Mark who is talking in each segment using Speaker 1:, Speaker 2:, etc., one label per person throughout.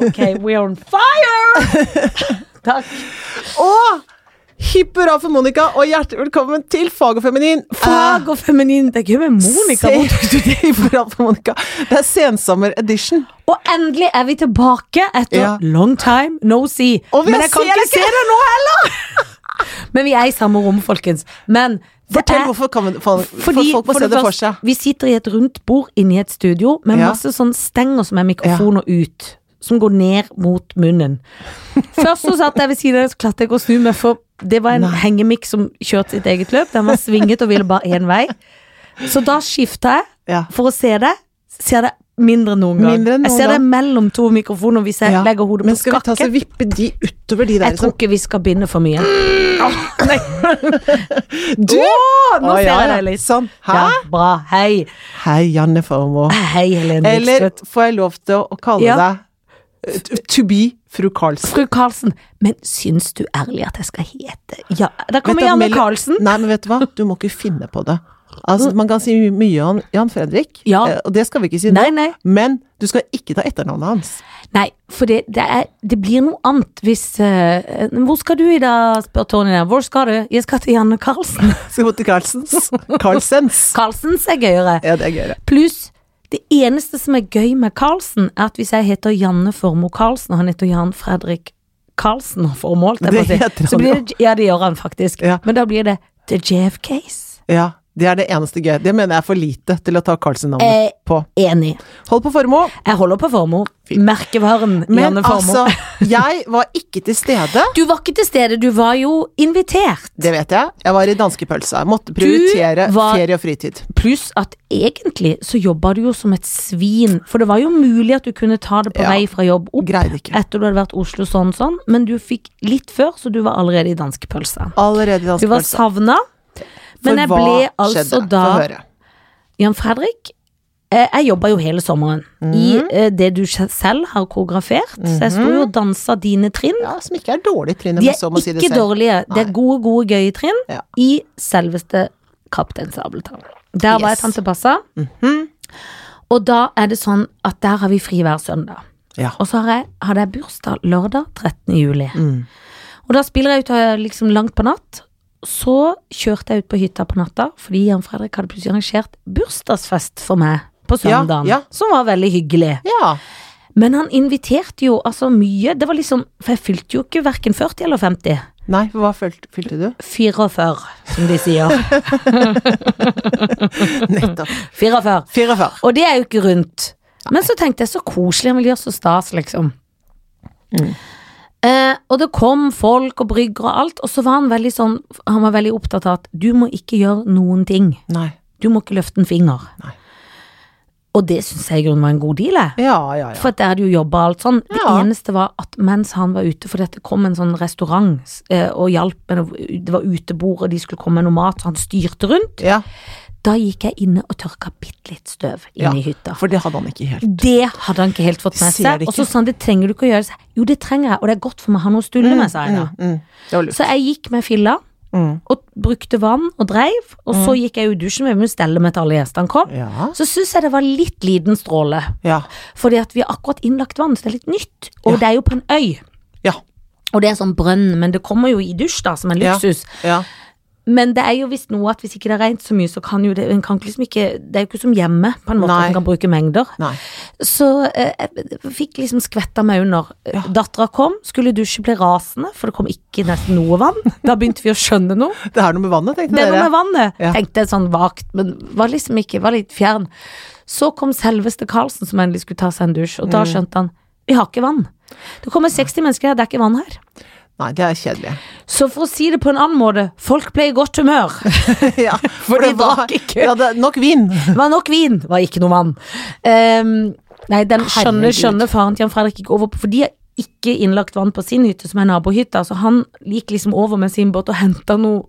Speaker 1: OK, we are on fire! Takk.
Speaker 2: Og hipp hurra for Monica, og hjertelig velkommen til Fag og feminin.
Speaker 1: Fag og feminin. Det er gøy med Ah, Monica.
Speaker 2: Se- Hipp hurra for Monica. Det er sensommer edition.
Speaker 1: Og endelig er vi tilbake etter
Speaker 2: Ja.
Speaker 1: long time no see.
Speaker 2: Og vi
Speaker 1: Men jeg kan
Speaker 2: ser
Speaker 1: ikke
Speaker 2: deg
Speaker 1: se
Speaker 2: ikke.
Speaker 1: deg nå heller! Men vi er i samme rom, folkens. Men det
Speaker 2: Fortell
Speaker 1: er
Speaker 2: hvorfor kan, for,
Speaker 1: Eh, fordi,
Speaker 2: folk må
Speaker 1: for
Speaker 2: se
Speaker 1: det
Speaker 2: det for
Speaker 1: første,
Speaker 2: seg.
Speaker 1: Vi sitter i et rundt bord inni et studio med
Speaker 2: Ja.
Speaker 1: masse sånn stenger som er mikrofoner ut. Som går ned mot munnen. Først så satt jeg ved siden av, så klarte jeg ikke å snu meg, for det var en hengemikk som kjørte sitt eget løp. Den var svinget og ville bare én vei. Så da skifta jeg
Speaker 2: Ja.
Speaker 1: for å se det. Ser det mindre enn noen gang.
Speaker 2: Mindre enn noen
Speaker 1: jeg ser
Speaker 2: gang.
Speaker 1: det mellom to mikrofoner hvis jeg
Speaker 2: Ja.
Speaker 1: legger hodet
Speaker 2: Men
Speaker 1: på
Speaker 2: skal vi ta oss
Speaker 1: skakke.
Speaker 2: og vippe de utover de der
Speaker 1: Jeg tror ikke vi skal binde for mye.
Speaker 2: som Du!
Speaker 1: Å, nå
Speaker 2: Å,
Speaker 1: ser
Speaker 2: ja,
Speaker 1: jeg
Speaker 2: ja.
Speaker 1: deg litt.
Speaker 2: Sånn. Hæ?
Speaker 1: Ja, bra. Hei.
Speaker 2: Hei, Janne Formoe.
Speaker 1: Hei, Helene
Speaker 2: Eller
Speaker 1: Vikstvedt.
Speaker 2: får jeg lov til å kalle
Speaker 1: Ja.
Speaker 2: deg eh, to be fru Karlsen?
Speaker 1: Fru Karlsen, men syns du ærlig at jeg skal hete Ja, der
Speaker 2: Vet
Speaker 1: kommer
Speaker 2: du at
Speaker 1: Janne
Speaker 2: Mel-
Speaker 1: Karlsen.
Speaker 2: Nei, men vet du hva? Du må ikke finne på det. Altså, man kan si my- mye om Jan Fredrik,
Speaker 1: Ja.
Speaker 2: eh, og det skal vi ikke si nå.
Speaker 1: Nei, nei.
Speaker 2: Men du skal ikke ta etternavnet hans.
Speaker 1: Nei, for det, det, er, det blir noe annet hvis eh, Hvor skal du i dag, spør Tony. der. Hvor skal du? Jeg skal til Janne Karlsen.
Speaker 2: Skal gå til Carlsens. Carlsens.
Speaker 1: Karlsens er gøyere.
Speaker 2: Ja, det er gøyere.
Speaker 1: Pluss, det eneste som er gøy med Karlsen, er at hvis jeg heter Janne Formoe Karlsen, og han heter Jan Fredrik Karlsen Formoe, holdt jeg på å
Speaker 2: Det heter
Speaker 1: si,
Speaker 2: han
Speaker 1: så blir det Ja, det gjør han faktisk.
Speaker 2: Ja.
Speaker 1: Men da blir det The JFKs.
Speaker 2: Ja, det er det eneste gøye. Det mener jeg er for lite til å ta Carlsen-navnet
Speaker 1: Eh.
Speaker 2: på.
Speaker 1: Enig.
Speaker 2: Hold på formå.
Speaker 1: Jeg holder på Formoe. Merkevaren
Speaker 2: Men
Speaker 1: Janne Formoe.
Speaker 2: altså, jeg var ikke til stede.
Speaker 1: Du var ikke til stede, du var jo invitert.
Speaker 2: Det vet jeg. Jeg var i danskepølsa. Jeg måtte prioritere
Speaker 1: var-
Speaker 2: ferie og fritid.
Speaker 1: Pluss at egentlig så jobba du jo som et svin, for det var jo mulig at du kunne ta det på
Speaker 2: Ja.
Speaker 1: vei fra jobb opp
Speaker 2: Greide ikke.
Speaker 1: etter du hadde vært Oslo sånn sånn, men du fikk litt før, så du var allerede i danskepølsa.
Speaker 2: Allerede i
Speaker 1: Du var
Speaker 2: danskepølsa.
Speaker 1: savna, men jeg ble altså
Speaker 2: Få
Speaker 1: da
Speaker 2: høre.
Speaker 1: Jan Fredrik, eh, jeg jobba jo hele sommeren i
Speaker 2: Mhm.
Speaker 1: eh, det du sj- selv har koreografert, så jeg sto jo og dansa dine trinn.
Speaker 2: Ja, som ikke er dårlig, Trine,
Speaker 1: De
Speaker 2: men
Speaker 1: er
Speaker 2: så må si det
Speaker 1: ikke
Speaker 2: selv.
Speaker 1: dårlige. Det er
Speaker 2: Nei.
Speaker 1: gode, gode, gøye trinn
Speaker 2: Ja.
Speaker 1: i selveste Kaptein Sabeltann. Der var jeg
Speaker 2: Yes. Mhm.
Speaker 1: tante Passa. Og da er det sånn at der har vi fri hver søndag.
Speaker 2: Ja.
Speaker 1: Og så har jeg, hadde jeg bursdag lørdag 13. juli.
Speaker 2: Mm.
Speaker 1: Og da spiller jeg ut eh, liksom langt på natt. Så kjørte jeg ut på hytta på natta, fordi Jan Fredrik hadde plutselig arrangert bursdagsfest for meg på
Speaker 2: Ja,
Speaker 1: søndagen.
Speaker 2: ja.
Speaker 1: Som var veldig hyggelig.
Speaker 2: Ja.
Speaker 1: Men han inviterte jo altså mye. Det var liksom, For jeg fylte jo ikke verken 40 eller 50.
Speaker 2: Nei, for hva fylte, fylte du?
Speaker 1: 44, som de sier.
Speaker 2: Nettopp.
Speaker 1: 44.
Speaker 2: 44.
Speaker 1: Og det er jo ikke rundt. Men så tenkte jeg, så koselig, han vil gjøre så stas, liksom.
Speaker 2: Mm.
Speaker 1: Eh, og det kom folk og brygger og alt, og så var han veldig sånn Han var veldig opptatt av at du må ikke gjøre noen ting.
Speaker 2: Nei.
Speaker 1: Du må ikke løfte en finger.
Speaker 2: Nei.
Speaker 1: Og det syns jeg i grunnen var en god deal, jeg.
Speaker 2: Ja, ja, ja.
Speaker 1: For at der hadde jo jobba alt sånn. Det
Speaker 2: Ja.
Speaker 1: eneste var at mens han var ute, for dette kom en sånn restaurant eh, og hjalp, med noe- det var utebord, og de skulle komme med noe mat, så han styrte rundt.
Speaker 2: Ja,
Speaker 1: Da gikk jeg inne og tørka bitte litt støv
Speaker 2: ja.
Speaker 1: inne i hytta.
Speaker 2: For det hadde han ikke helt.
Speaker 1: Det hadde han ikke helt fått med
Speaker 2: Ser
Speaker 1: seg.
Speaker 2: det
Speaker 1: Og så
Speaker 2: ikke.
Speaker 1: sa han det trenger du ikke å gjøre. Så jeg, Jo, det trenger jeg, og det er godt for meg å ha noe å stulle med, sa jeg da.
Speaker 2: Mm. Det var lurt.
Speaker 1: Så jeg gikk med filla
Speaker 2: Mm.
Speaker 1: og brukte vann og dreiv, og så gikk jeg jo i dusjen med å stelle med til alle gjestene kom.
Speaker 2: Ja.
Speaker 1: Så syns jeg det var litt liten stråle,
Speaker 2: Ja.
Speaker 1: fordi at vi har akkurat innlagt vann, så det er litt nytt. Og det er jo på en øy.
Speaker 2: Ja.
Speaker 1: Og det er sånn brønn, men det kommer jo i dusj, da, som en
Speaker 2: Ja.
Speaker 1: luksus.
Speaker 2: ja.
Speaker 1: Men det er jo visst noe at hvis ikke det har regnet så mye, så kan jo det en kan liksom ikke, Det er jo ikke som hjemme, på en måte,
Speaker 2: Nei.
Speaker 1: at en kan bruke mengder.
Speaker 2: Nei.
Speaker 1: Så eh, jeg fikk liksom skvetta meg under.
Speaker 2: Ja.
Speaker 1: Dattera kom, skulle dusje, ble rasende, for det kom ikke nesten noe vann. Da begynte vi å skjønne noe.
Speaker 2: Det er noe med vannet, tenkte
Speaker 1: Det er noe
Speaker 2: dere.
Speaker 1: med vannet,
Speaker 2: Ja.
Speaker 1: tenkte jeg sånn vagt, men var liksom ikke, var litt fjern. Så kom selveste Karlsen som endelig skulle ta seg en dusj, og
Speaker 2: Mm.
Speaker 1: da skjønte han vi har ikke vann. Det kommer 60 mennesker her, det er ikke vann her.
Speaker 2: Nei, det er kjedelig.
Speaker 1: Så for å si det på en annen måte, folk ble i godt humør.
Speaker 2: ja, for
Speaker 1: de
Speaker 2: det var-
Speaker 1: drakk ikke.
Speaker 2: Ja, det er nok vin.
Speaker 1: Det var nok vin, det var ikke noe vann. Ehm, nei, den skjønner,
Speaker 2: Herregud.
Speaker 1: skjønner faren til Jan Fredrik ikke over på, for de har ikke innlagt vann på sin hytte, som er nabohytta, så han gikk liksom over med sin båt og henta noe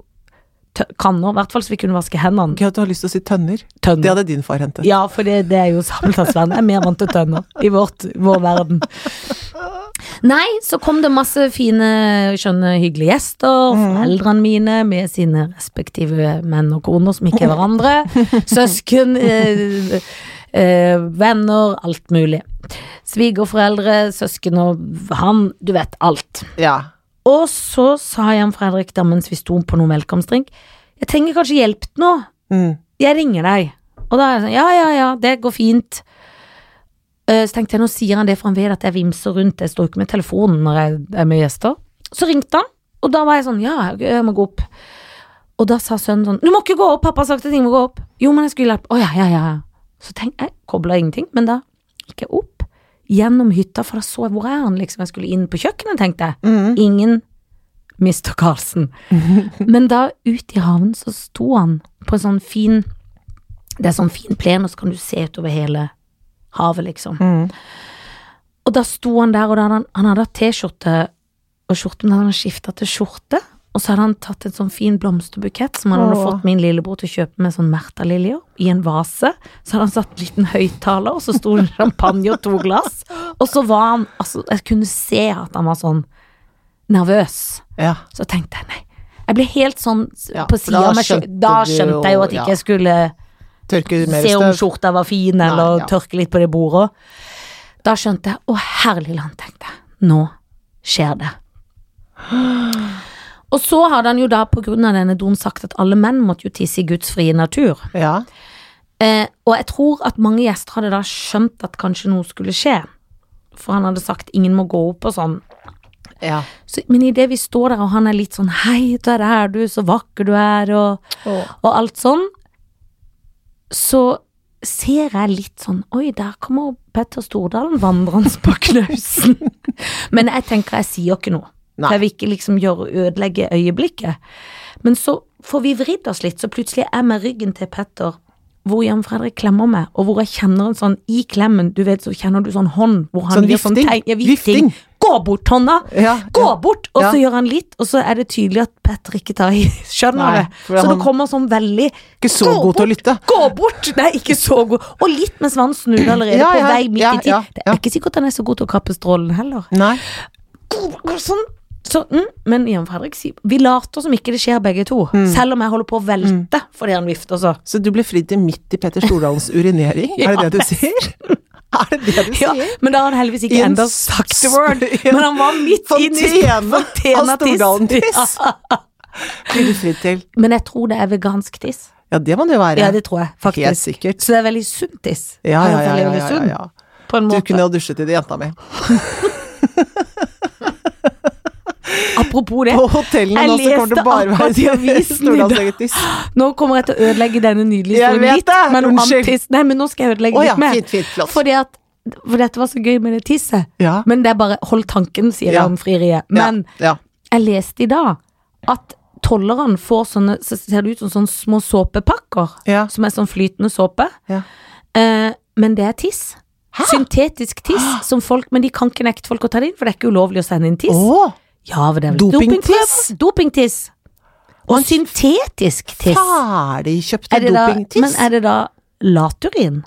Speaker 1: tø- kanner, i hvert fall så vi kunne vaske hendene.
Speaker 2: Gøy at du har lyst til å si tønner. Det
Speaker 1: Tønner.
Speaker 2: hadde din far hentet.
Speaker 1: Ja, for det, det er jo sabeltannsverden. Jeg er mer vant til tønner i vårt, vår verden. Nei, så kom det masse fine, skjønne, hyggelige gjester. Foreldrene mine med sine respektive menn og koner som ikke er hverandre. Søsken, eh, eh, venner, alt mulig. svigerforeldre, søsken og han, du vet alt.
Speaker 2: Ja.
Speaker 1: Og så sa Jan Fredrik da mens vi sto på noen velkomstdrink, jeg trenger kanskje hjelp nå,
Speaker 2: Mm.
Speaker 1: jeg ringer deg. Og da er jeg sånn, ja, ja, ja, det går fint. Eh, Så tenkte jeg, nå sier han det, for han vet at jeg vimser rundt, jeg står jo ikke med telefonen når jeg er med gjester. Så ringte han, og da var jeg sånn, ja, jeg må gå opp. Og da sa sønnen sånn, du må ikke gå opp, pappa har sagt at jeg må gå opp. Jo, men jeg skulle hjelpe. Å ja, ja, ja. ja. Så tenkte jeg, koblet ingenting, men da gikk jeg opp gjennom hytta, for da så jeg, hvor er han liksom, jeg skulle inn på kjøkkenet, tenkte jeg.
Speaker 2: Mm.
Speaker 1: Ingen Mr. Carlsen. Men da ut i havnen så sto han på en sånn fin Det er sånn fin plen, og så kan du se utover hele havet, liksom.
Speaker 2: Mm.
Speaker 1: Og da sto han der, og da hadde han, han hadde hatt T-skjorte og skjorte, men da hadde han skifta til skjorte. Og så hadde han tatt en sånn fin blomsterbukett som han hadde
Speaker 2: Åh.
Speaker 1: fått min lillebror til å kjøpe med sånn Märtha-liljer i en vase. Så hadde han satt en liten høyttaler, og så sto det champagne og to glass. Og så var han altså, Jeg kunne se at han var sånn nervøs.
Speaker 2: Ja.
Speaker 1: Så tenkte jeg nei. Jeg ble helt sånn s-
Speaker 2: Ja,
Speaker 1: på
Speaker 2: for
Speaker 1: sida
Speaker 2: da
Speaker 1: av meg sjøl.
Speaker 2: skjønte
Speaker 1: Da
Speaker 2: du
Speaker 1: skjønte jeg jo at
Speaker 2: jo,
Speaker 1: jeg
Speaker 2: ja.
Speaker 1: ikke skulle
Speaker 2: Tørker mer
Speaker 1: se om
Speaker 2: støv.
Speaker 1: skjorta var fin, eller
Speaker 2: ja.
Speaker 1: tørke litt på det bordet. Da skjønte jeg Å, herlig land, tenkte jeg. Nå skjer det. Og så hadde han jo da på grunn av denne doen sagt at alle menn måtte jo tisse i Guds frie natur.
Speaker 2: Ja.
Speaker 1: Eh, og jeg tror at mange gjester hadde da skjønt at kanskje noe skulle skje. For han hadde sagt 'ingen må gå opp' og sånn.
Speaker 2: ja.
Speaker 1: Så, men idet vi står der, og han er litt sånn 'hei, der er du, så vakker du er', og og alt sånn, så ser jeg litt sånn Oi, der kommer Petter Stordalen vandrende på knausen. Men jeg tenker jeg sier ikke noe.
Speaker 2: Nei.
Speaker 1: For jeg vil ikke liksom gjøre, ødelegge øyeblikket. Men så får vi vridd oss litt, så plutselig er jeg med ryggen til Petter. Hvor Jan Fredrik klemmer meg, og hvor jeg kjenner en sånn i klemmen Du vet, så kjenner du sånn hånd hvor han
Speaker 2: Sånn
Speaker 1: gir sånn
Speaker 2: vifting.
Speaker 1: tegn. Ja, vifting.
Speaker 2: Vifting.
Speaker 1: Gå bort, hånda!
Speaker 2: Ja,
Speaker 1: Gå
Speaker 2: ja.
Speaker 1: bort! Og
Speaker 2: Ja.
Speaker 1: så gjør han litt, og så er det tydelig at Petter ikke tar i. Skjønner
Speaker 2: Nei,
Speaker 1: det.
Speaker 2: for
Speaker 1: Så det
Speaker 2: han-
Speaker 1: kommer sånn veldig
Speaker 2: Ikke så
Speaker 1: Gå
Speaker 2: god til
Speaker 1: bort!
Speaker 2: å lytte.
Speaker 1: Gå bort! Nei, ikke så god. Og litt mens han snur allerede
Speaker 2: Ja, ja,
Speaker 1: på vei midt
Speaker 2: ja,
Speaker 1: i tid.
Speaker 2: ja,
Speaker 1: Det
Speaker 2: ja.
Speaker 1: er ikke sikkert han er så god til å kappe strålen heller.
Speaker 2: Nei.
Speaker 1: Sånn. Så, mm, men Jan Fredrik sier Vi later som ikke det skjer, begge to.
Speaker 2: Mm.
Speaker 1: Selv om jeg holder på å velte fordi han vifter så.
Speaker 2: Så du ble fridd til midt i Petter Stordalens urinering? Er det det du sier? Er det det du
Speaker 1: Ja,
Speaker 2: sier?
Speaker 1: men da har han heldigvis ikke
Speaker 2: I en
Speaker 1: enda
Speaker 2: s-
Speaker 1: sagt the word.
Speaker 2: Ja.
Speaker 1: Men han var midt inni
Speaker 2: Fontene av Stordalen-tiss!
Speaker 1: Ja.
Speaker 2: Blir du fridd til?
Speaker 1: Men jeg tror det er vegansk tiss.
Speaker 2: Ja, det må det jo være.
Speaker 1: Ja, det tror jeg, faktisk.
Speaker 2: Helt sikkert.
Speaker 1: Så det er veldig sunt tiss.
Speaker 2: Ja,
Speaker 1: I
Speaker 2: ja,
Speaker 1: hvert
Speaker 2: ja,
Speaker 1: fall
Speaker 2: ja,
Speaker 1: veldig
Speaker 2: ja,
Speaker 1: sunn,
Speaker 2: ja, ja.
Speaker 1: På en
Speaker 2: Du
Speaker 1: måte.
Speaker 2: kunne ha dusjet i det, jenta mi.
Speaker 1: Apropos det.
Speaker 2: På hotellene
Speaker 1: Jeg
Speaker 2: nå så kommer
Speaker 1: leste
Speaker 2: det bare være
Speaker 1: akkurat i avisen i dag.
Speaker 2: Stordalens eget tiss.
Speaker 1: Nå kommer jeg til å ødelegge denne nydelige
Speaker 2: Jeg
Speaker 1: historien
Speaker 2: vet
Speaker 1: litt.
Speaker 2: det,
Speaker 1: Men om
Speaker 2: unnskyld.
Speaker 1: antiss Nei, men nå skal jeg ødelegge
Speaker 2: Å ja,
Speaker 1: litt mer.
Speaker 2: fint, fint, flott.
Speaker 1: Fordi at For dette var så gøy med det tisset.
Speaker 2: Ja.
Speaker 1: Men det er bare Hold tanken, sier
Speaker 2: Ja.
Speaker 1: jeg om frieriet. Men
Speaker 2: ja,
Speaker 1: jeg leste i dag at tollerne får sånne Så ser det ut som sånne små såpepakker.
Speaker 2: Ja.
Speaker 1: Som er sånn flytende såpe.
Speaker 2: ja.
Speaker 1: Eh, men det er tiss. Syntetisk tiss som folk Men de kan ikke nekte folk å ta det inn, for det er ikke ulovlig å sende inn tiss.
Speaker 2: Å,
Speaker 1: Ja, men det er vel
Speaker 2: Dopingtiss?
Speaker 1: dopingprøver. Dopingtiss. Og syntetisk tiss.
Speaker 2: ferdigkjøpte
Speaker 1: Er det da, men
Speaker 2: dopingtiss.
Speaker 1: er det da laturin?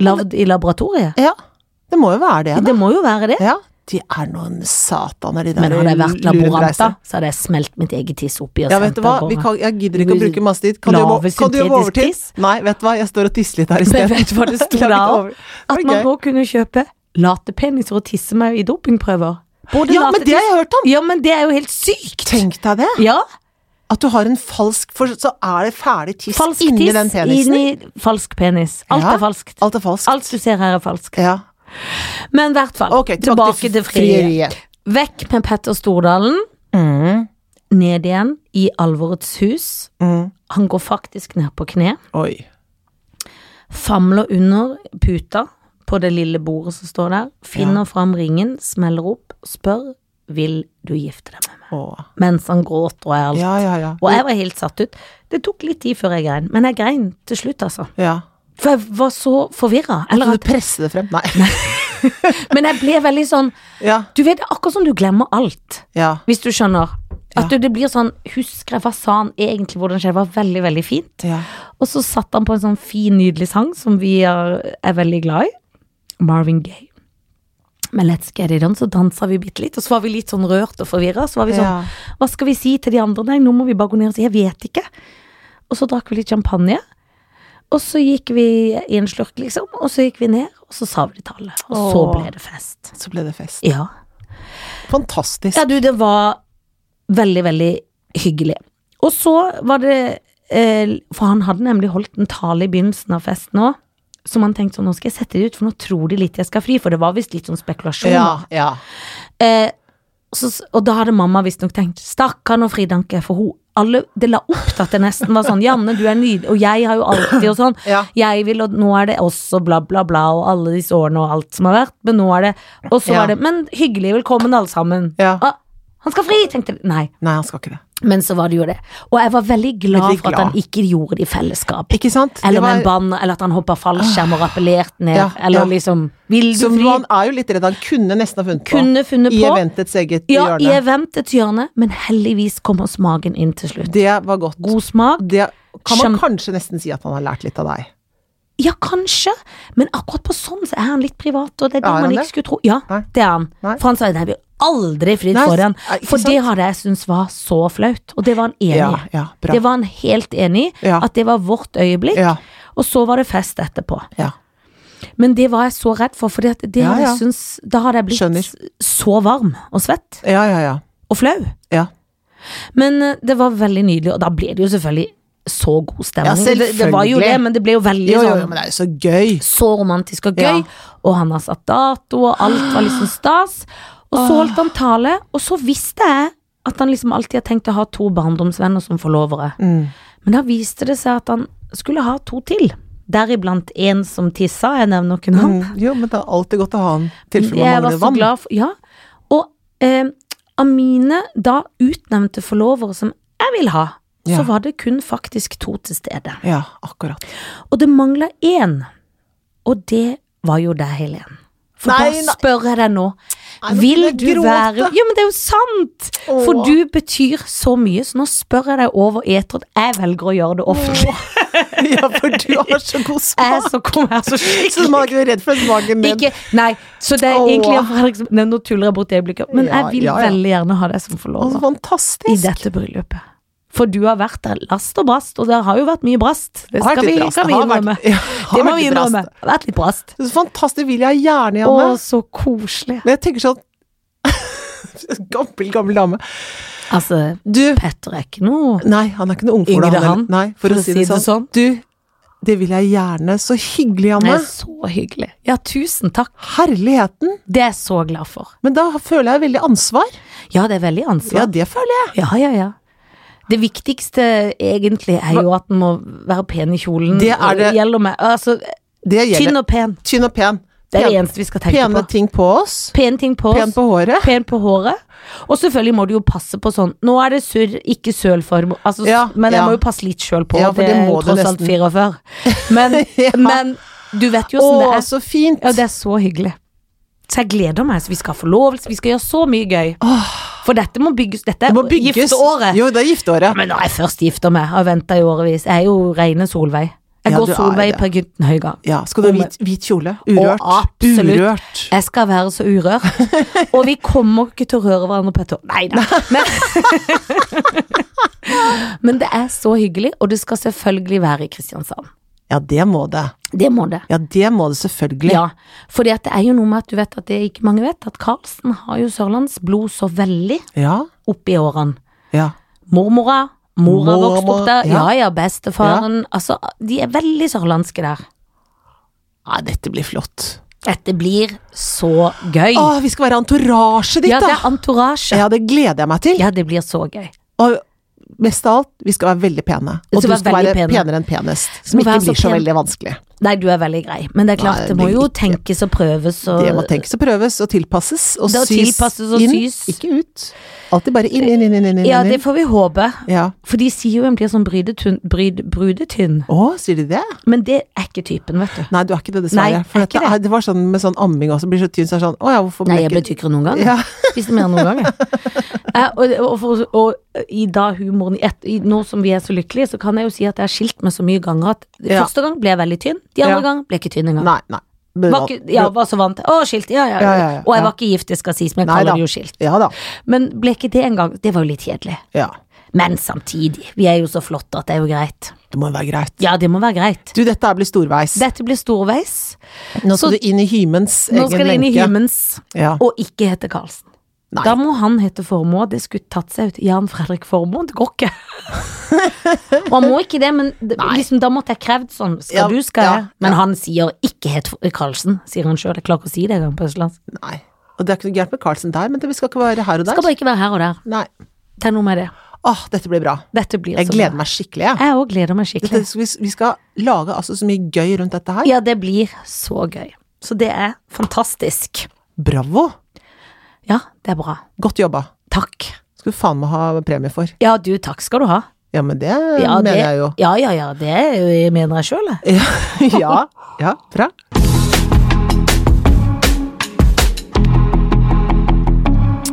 Speaker 1: Lagd i laboratoriet?
Speaker 2: Ja, det må jo være det, da.
Speaker 1: Det må jo være det.
Speaker 2: Ja. De er noen sataner, de der
Speaker 1: Men hadde jeg vært laborant, da,
Speaker 2: lurendreiser.
Speaker 1: så hadde jeg smelt mitt eget tiss oppi og
Speaker 2: Ja,
Speaker 1: sendt
Speaker 2: vet du
Speaker 1: det
Speaker 2: hva,
Speaker 1: av
Speaker 2: Vi
Speaker 1: gårde.
Speaker 2: kan, jeg gidder ikke å bruke masse tid. Kan du
Speaker 1: Lave
Speaker 2: jobbe kan du jobbe
Speaker 1: syntetisk
Speaker 2: overtid?
Speaker 1: tiss?
Speaker 2: Nei, vet du hva, jeg står og tisser litt her i
Speaker 1: Men
Speaker 2: sted.
Speaker 1: vet du hva det sto da?
Speaker 2: Lag litt over.
Speaker 1: At
Speaker 2: Det var
Speaker 1: man
Speaker 2: gøy.
Speaker 1: nå kunne kjøpe latepeniser og tisse meg i dopingprøver. Både
Speaker 2: Ja, men det har jeg
Speaker 1: latetiss-
Speaker 2: hørt om.
Speaker 1: Ja, men det er jo helt sykt!
Speaker 2: Tenk deg det!
Speaker 1: Ja,
Speaker 2: At du har en falsk For så er det ferdig tiss
Speaker 1: falsk
Speaker 2: inni
Speaker 1: tiss
Speaker 2: den penisen.
Speaker 1: inni falsk penis. Alt
Speaker 2: Ja,
Speaker 1: er falskt.
Speaker 2: Alt er falskt.
Speaker 1: Alt du ser her er falskt.
Speaker 2: Ja.
Speaker 1: Men i hvert fall,
Speaker 2: Ok,
Speaker 1: tilbake til frieriet. Vekk med Petter Stordalen.
Speaker 2: Mm.
Speaker 1: Ned igjen i Alvorets hus.
Speaker 2: Mm.
Speaker 1: Han går faktisk ned på kne.
Speaker 2: Oi.
Speaker 1: Famler under puta på det lille bordet som står der. Finner fram ringen, smeller opp, spør vil du gifte deg med meg.
Speaker 2: Åh.
Speaker 1: Mens han gråter og er alt.
Speaker 2: Ja, ja, ja.
Speaker 1: Og jeg var helt satt ut. Det tok litt tid før jeg grein, men jeg grein til slutt, altså.
Speaker 2: ja.
Speaker 1: For jeg var så forvirra.
Speaker 2: Kan
Speaker 1: Eller
Speaker 2: du
Speaker 1: at
Speaker 2: presse det frem? Nei.
Speaker 1: Men jeg ble veldig sånn
Speaker 2: Ja.
Speaker 1: Du vet, det er akkurat som du glemmer alt.
Speaker 2: Ja.
Speaker 1: Hvis du skjønner. At
Speaker 2: Ja.
Speaker 1: du, det blir sånn Husker jeg hva sa han egentlig, hvordan skjedde? Det var veldig, veldig fint.
Speaker 2: ja.
Speaker 1: Og så satt han på en sånn fin, nydelig sang som vi er, er veldig glad i. Marvin Gaye. Med Let's Get It On, så dansa vi bitte litt. Og så var vi litt sånn rørt og forvirra. Så var vi sånn
Speaker 2: Ja.
Speaker 1: Hva skal vi si til de andre? Nei, nå må vi bare gå ned og si Jeg vet ikke. Og så drakk vi litt champagne. Og så gikk vi i en slurk, liksom, og så gikk vi ned, og så sa vi det tallet. Og så
Speaker 2: Åh.
Speaker 1: ble det fest.
Speaker 2: Så ble det fest.
Speaker 1: Ja.
Speaker 2: Fantastisk.
Speaker 1: Ja, du, det var veldig, veldig hyggelig. Og så var det eh, For han hadde nemlig holdt en tale i begynnelsen av festen òg. Som han tenkte sånn, nå skal jeg sette det ut, for nå tror de litt jeg skal fri. For det var visst litt sånn spekulasjon.
Speaker 2: Ja, ja.
Speaker 1: Eh, så, og da hadde mamma visstnok tenkt Stakkar nå fridanke, for hun alle, Det la opp til at det nesten var sånn Janne, du er nydelig, og jeg har jo alltid og sånn.
Speaker 2: Ja.
Speaker 1: Jeg vil, og nå er det også bla, bla, bla, og alle disse årene og alt som har vært, men nå er det Og så
Speaker 2: Ja.
Speaker 1: var det Men hyggelig, velkommen alle sammen.
Speaker 2: Ja.
Speaker 1: Ah, han skal fri, tenkte jeg. Nei,
Speaker 2: Nei, han skal ikke det.
Speaker 1: men så var det jo det. Og jeg var veldig glad,
Speaker 2: Veldig
Speaker 1: for at han
Speaker 2: glad.
Speaker 1: ikke gjorde det i fellesskap.
Speaker 2: Ikke sant?
Speaker 1: Eller
Speaker 2: det Ah.
Speaker 1: med en band, eller at han hoppa fallskjerm og rappellerte ned,
Speaker 2: Ja,
Speaker 1: eller
Speaker 2: ja.
Speaker 1: liksom Vil du
Speaker 2: så
Speaker 1: fri?
Speaker 2: man er jo litt redd. Han kunne nesten ha funnet på.
Speaker 1: Kunne funnet
Speaker 2: I
Speaker 1: på.
Speaker 2: eventets eget
Speaker 1: Ja, i
Speaker 2: hjørne.
Speaker 1: eventets hjørne, men heldigvis kom oss magen inn til slutt.
Speaker 2: Det var godt.
Speaker 1: God smak?
Speaker 2: Det kan man
Speaker 1: Skjøn-
Speaker 2: kanskje nesten si at han har lært litt av deg.
Speaker 1: Ja, kanskje, men akkurat på sånn så er han litt privat, og det er det
Speaker 2: Er han
Speaker 1: man
Speaker 2: det?
Speaker 1: ikke skulle tro. Ja,
Speaker 2: Nei.
Speaker 1: det er han.
Speaker 2: Nei.
Speaker 1: For han sa nei, vi har aldri fridd
Speaker 2: Nei,
Speaker 1: foran.
Speaker 2: nei, ikke
Speaker 1: For det
Speaker 2: sant?
Speaker 1: hadde jeg syntes var så flaut, og det var han enig
Speaker 2: Ja,
Speaker 1: i.
Speaker 2: ja, bra.
Speaker 1: Det var han helt enig i,
Speaker 2: Ja.
Speaker 1: at det var vårt øyeblikk,
Speaker 2: Ja.
Speaker 1: og så var det fest etterpå.
Speaker 2: Ja.
Speaker 1: Men det var jeg så redd for, for det
Speaker 2: Ja,
Speaker 1: hadde
Speaker 2: ja.
Speaker 1: jeg syntes Da hadde jeg blitt
Speaker 2: Skjønner.
Speaker 1: så varm og svett
Speaker 2: Ja, ja, ja.
Speaker 1: og flau.
Speaker 2: Ja,
Speaker 1: Men eh, det var veldig nydelig, og da ble det jo selvfølgelig så god
Speaker 2: Ja,
Speaker 1: stemning. det, det var jo
Speaker 2: selvfølgelig.
Speaker 1: det, men det ble jo veldig
Speaker 2: jo, jo,
Speaker 1: sånn
Speaker 2: jo, men det er jo så gøy.
Speaker 1: så romantisk og
Speaker 2: Ja.
Speaker 1: gøy, og han har satt dato, og alt var liksom stas. Og så holdt han tale, og så visste jeg at han liksom alltid har tenkt å ha to barndomsvenner som forlovere.
Speaker 2: Mm.
Speaker 1: Men da viste det seg at han skulle ha to til. Deriblant en som tissa, jeg nevner ikke navn.
Speaker 2: Mm, Jo, men det er alltid godt å ha en tilfelle man
Speaker 1: Jeg var
Speaker 2: mangler
Speaker 1: så
Speaker 2: vann.
Speaker 1: glad for Ja. Og eh, av mine da utnevnte forlovere som jeg vil ha,
Speaker 2: Ja.
Speaker 1: så var det kun faktisk to til stede.
Speaker 2: Ja, akkurat.
Speaker 1: Og det mangla én, og det var jo deg, Helen. For
Speaker 2: Nei,
Speaker 1: da
Speaker 2: nei.
Speaker 1: spør jeg deg nå,
Speaker 2: Nei, nå
Speaker 1: vil
Speaker 2: begynner
Speaker 1: du
Speaker 2: jeg å
Speaker 1: være
Speaker 2: gråte.
Speaker 1: Jo, men det er jo sant! For
Speaker 2: Åh.
Speaker 1: du betyr så mye, så nå spør jeg deg over eteren. Jeg velger å gjøre det offentlig.
Speaker 2: Ja, for du har så god
Speaker 1: Jeg
Speaker 2: smak.
Speaker 1: så kom her så
Speaker 2: Så
Speaker 1: skikkelig
Speaker 2: man er ikke redd for smaken din.
Speaker 1: ikke, Nei, så det er
Speaker 2: Åh.
Speaker 1: egentlig en Fredrik som- Nei, Nå tuller jeg bort øyeblikket, men
Speaker 2: Ja,
Speaker 1: jeg vil
Speaker 2: ja, ja.
Speaker 1: veldig gjerne ha deg som
Speaker 2: Å, så
Speaker 1: forlover i
Speaker 2: fantastisk.
Speaker 1: dette bryllupet. For du har vært der last og brast, og det har jo vært mye brast. Det
Speaker 2: Har vært
Speaker 1: skal vi,
Speaker 2: litt brast.
Speaker 1: kan vi
Speaker 2: Det har vært-
Speaker 1: innrømme.
Speaker 2: Ja, har
Speaker 1: Det må
Speaker 2: vært
Speaker 1: vi
Speaker 2: litt brast.
Speaker 1: innrømme. Det har vært litt brast.
Speaker 2: Så fantastisk vil jeg gjerne,
Speaker 1: Å,
Speaker 2: Janne.
Speaker 1: så koselig.
Speaker 2: Men jeg tenker sånn Gammel, gammel dame.
Speaker 1: Altså,
Speaker 2: Du
Speaker 1: Petter er ikke noe
Speaker 2: Nei, han er ikke noe ungfole,
Speaker 1: Yngre
Speaker 2: heller.
Speaker 1: han,
Speaker 2: Nei, for, å si det sånn.
Speaker 1: sånn.
Speaker 2: Du, det vil jeg gjerne. Så hyggelig,
Speaker 1: Det
Speaker 2: Janne.
Speaker 1: er så hyggelig. Ja, tusen takk.
Speaker 2: Herligheten.
Speaker 1: Det er jeg så glad for.
Speaker 2: Men da føler jeg veldig ansvar.
Speaker 1: Ja, det er veldig
Speaker 2: Ja,
Speaker 1: ansvar.
Speaker 2: det føler jeg.
Speaker 1: Ja, ja, ja. Det viktigste egentlig er jo at den må være pen i kjolen.
Speaker 2: Det er det-
Speaker 1: Gjelder meg. Altså,
Speaker 2: Det gjelder.
Speaker 1: tynn og pen.
Speaker 2: Tynn og pen.
Speaker 1: Det er det
Speaker 2: Pen-
Speaker 1: eneste vi skal tenke
Speaker 2: Pene
Speaker 1: på.
Speaker 2: ting på oss.
Speaker 1: Pen ting på
Speaker 2: Pen
Speaker 1: oss.
Speaker 2: på håret.
Speaker 1: Pen på håret. Og selvfølgelig må du jo passe på sånn Nå er det surr, ikke søl for altså,
Speaker 2: Ja,
Speaker 1: Men jeg
Speaker 2: ja.
Speaker 1: må jo passe litt sjøl på,
Speaker 2: Ja, for
Speaker 1: det,
Speaker 2: det
Speaker 1: er jo
Speaker 2: må du
Speaker 1: tross alt
Speaker 2: nesten.
Speaker 1: 44. Men,
Speaker 2: Ja.
Speaker 1: men du vet jo
Speaker 2: Å,
Speaker 1: åssen det er.
Speaker 2: så fint.
Speaker 1: Ja, det er så hyggelig. Så jeg gleder meg. Så vi skal ha forlovelse, vi skal gjøre så mye gøy. For dette må bygges. Dette
Speaker 2: Det må
Speaker 1: er
Speaker 2: bygges.
Speaker 1: gifteåret.
Speaker 2: Jo, det er gifteåret.
Speaker 1: Men når jeg først gifter meg, har venta i årevis. Jeg er jo reine Solveig. Jeg
Speaker 2: Ja, du
Speaker 1: går
Speaker 2: er
Speaker 1: Solveig
Speaker 2: det.
Speaker 1: Per Gynten Høygang.
Speaker 2: Ja, skal du ha
Speaker 1: Om-
Speaker 2: hvit, hvit kjole? Urørt.
Speaker 1: Å, absolutt.
Speaker 2: Urørt.
Speaker 1: Jeg skal være så urørt. Og vi kommer ikke til å røre hverandre på et år. Nei da. Men, men det er så hyggelig, og det skal selvfølgelig være i Kristiansand.
Speaker 2: Ja, det må det.
Speaker 1: Det må det.
Speaker 2: Ja, det må det selvfølgelig.
Speaker 1: Ja, fordi at det er jo noe med at du vet at det ikke mange vet, at Karlsen har jo sørlandsblod så veldig
Speaker 2: Ja.
Speaker 1: oppi årene.
Speaker 2: ja.
Speaker 1: Mormora, mora
Speaker 2: Mormor,
Speaker 1: vokste opp der, ja
Speaker 2: ja.
Speaker 1: ja, bestefaren. Altså, de er veldig sørlandske der.
Speaker 2: Nei, dette blir flott.
Speaker 1: Dette blir så gøy.
Speaker 2: Å, vi skal være entourasje ditt,
Speaker 1: ja, det
Speaker 2: da!
Speaker 1: er antorasje. Ja.
Speaker 2: Ja, det gleder jeg meg til.
Speaker 1: det blir så gøy.
Speaker 2: Og mest av alt, vi skal være veldig pene. Og
Speaker 1: skal
Speaker 2: du
Speaker 1: være
Speaker 2: skal
Speaker 1: veldig
Speaker 2: være
Speaker 1: pene.
Speaker 2: penere enn penest. Som
Speaker 1: må
Speaker 2: ikke
Speaker 1: være så
Speaker 2: blir så
Speaker 1: pen.
Speaker 2: veldig vanskelig.
Speaker 1: Nei, du er veldig grei, men det er klart,
Speaker 2: Nei,
Speaker 1: det må
Speaker 2: det
Speaker 1: jo
Speaker 2: blir ikke-
Speaker 1: tenkes og prøves og
Speaker 2: Det må tenkes og prøves og tilpasses og
Speaker 1: Det å
Speaker 2: sys
Speaker 1: tilpasses og
Speaker 2: inn,
Speaker 1: sys.
Speaker 2: ikke ut. Alltid bare inn, inn, inn, inn, inn. inn,
Speaker 1: Ja, det
Speaker 2: inn.
Speaker 1: får vi håpe.
Speaker 2: Ja.
Speaker 1: For de sier jo en blir sånn brydetun- bryd, brudetynn,
Speaker 2: Å, sier de det?
Speaker 1: men det er ikke typen, vet du.
Speaker 2: Nei, du er ikke det,
Speaker 1: Nei,
Speaker 2: dessverre.
Speaker 1: jeg er
Speaker 2: For
Speaker 1: ikke
Speaker 2: dette,
Speaker 1: det.
Speaker 2: er- det var sånn med sånn amming også, blir så tynn, så er det sånn Å ja, hvorfor
Speaker 1: Nei,
Speaker 2: ble
Speaker 1: jeg ble tykkere noen ganger.
Speaker 2: Ja.
Speaker 1: Spiste mer noen ganger. Eh, og, og, for, og i da humoren i ett, i- Nå som vi er så lykkelige, så kan jeg jo si at jeg har skilt meg så mye ganger at
Speaker 2: Ja.
Speaker 1: første gang ble jeg veldig tynn, de andre
Speaker 2: Ja.
Speaker 1: gang ble jeg ikke tynn engang.
Speaker 2: Nei, nei. Men-
Speaker 1: Var ikke, ja, var så vant til Å, skilt, ja ja, ja.
Speaker 2: Ja, ja, ja.
Speaker 1: Og jeg
Speaker 2: Ja.
Speaker 1: var ikke gift, det skal sies, men jeg
Speaker 2: Nei
Speaker 1: kaller
Speaker 2: da.
Speaker 1: det jo skilt.
Speaker 2: Ja da.
Speaker 1: Men ble ikke det engang. Det var jo litt kjedelig.
Speaker 2: Ja.
Speaker 1: Men samtidig, vi er jo så flotte at det er jo greit.
Speaker 2: Det må jo være greit.
Speaker 1: Ja, det må være greit.
Speaker 2: Du, dette her blir storveis.
Speaker 1: Dette blir storveis.
Speaker 2: Nå skal
Speaker 1: så-
Speaker 2: du inn i hymens egen
Speaker 1: Nå skal det inn i
Speaker 2: lenke.
Speaker 1: Humans,
Speaker 2: Ja.
Speaker 1: og ikke hete Karlsen.
Speaker 2: Nei.
Speaker 1: Da må han hete Formoe. Det skulle tatt seg ut. Jan Fredrik Formoe, det går ikke. og han må ikke det, men det, liksom, da måtte jeg krevd sånn. Skal
Speaker 2: Ja,
Speaker 1: du, skal
Speaker 2: ja,
Speaker 1: jeg. Men
Speaker 2: ja.
Speaker 1: han sier ikke het Karlsen, sier han sjøl. Jeg klarer ikke å si det engang på østlandsk.
Speaker 2: Nei. Og det er ikke noe gærent med Carlsen der, men det skal ikke være her og
Speaker 1: Skal
Speaker 2: der.
Speaker 1: bare ikke være her og der.
Speaker 2: Nei.
Speaker 1: Det er noe med det.
Speaker 2: Åh, dette blir bra.
Speaker 1: Dette blir
Speaker 2: Jeg
Speaker 1: så
Speaker 2: gleder
Speaker 1: bra.
Speaker 2: meg skikkelig, jeg.
Speaker 1: Jeg òg gleder meg
Speaker 2: Dette,
Speaker 1: skikkelig.
Speaker 2: vi vi skal lage altså så mye gøy rundt dette her.
Speaker 1: Ja, det blir så gøy. Så det er fantastisk.
Speaker 2: Bravo!
Speaker 1: Ja, det er bra.
Speaker 2: Godt jobba.
Speaker 1: Takk.
Speaker 2: Skal du faen meg ha premie for.
Speaker 1: Ja, du, takk skal du ha.
Speaker 2: Ja, men det
Speaker 1: Ja,
Speaker 2: mener
Speaker 1: det,
Speaker 2: jeg jo.
Speaker 1: Ja, ja, ja, det er jo- jeg mener jeg sjøl, jeg.
Speaker 2: ja. ja, bra.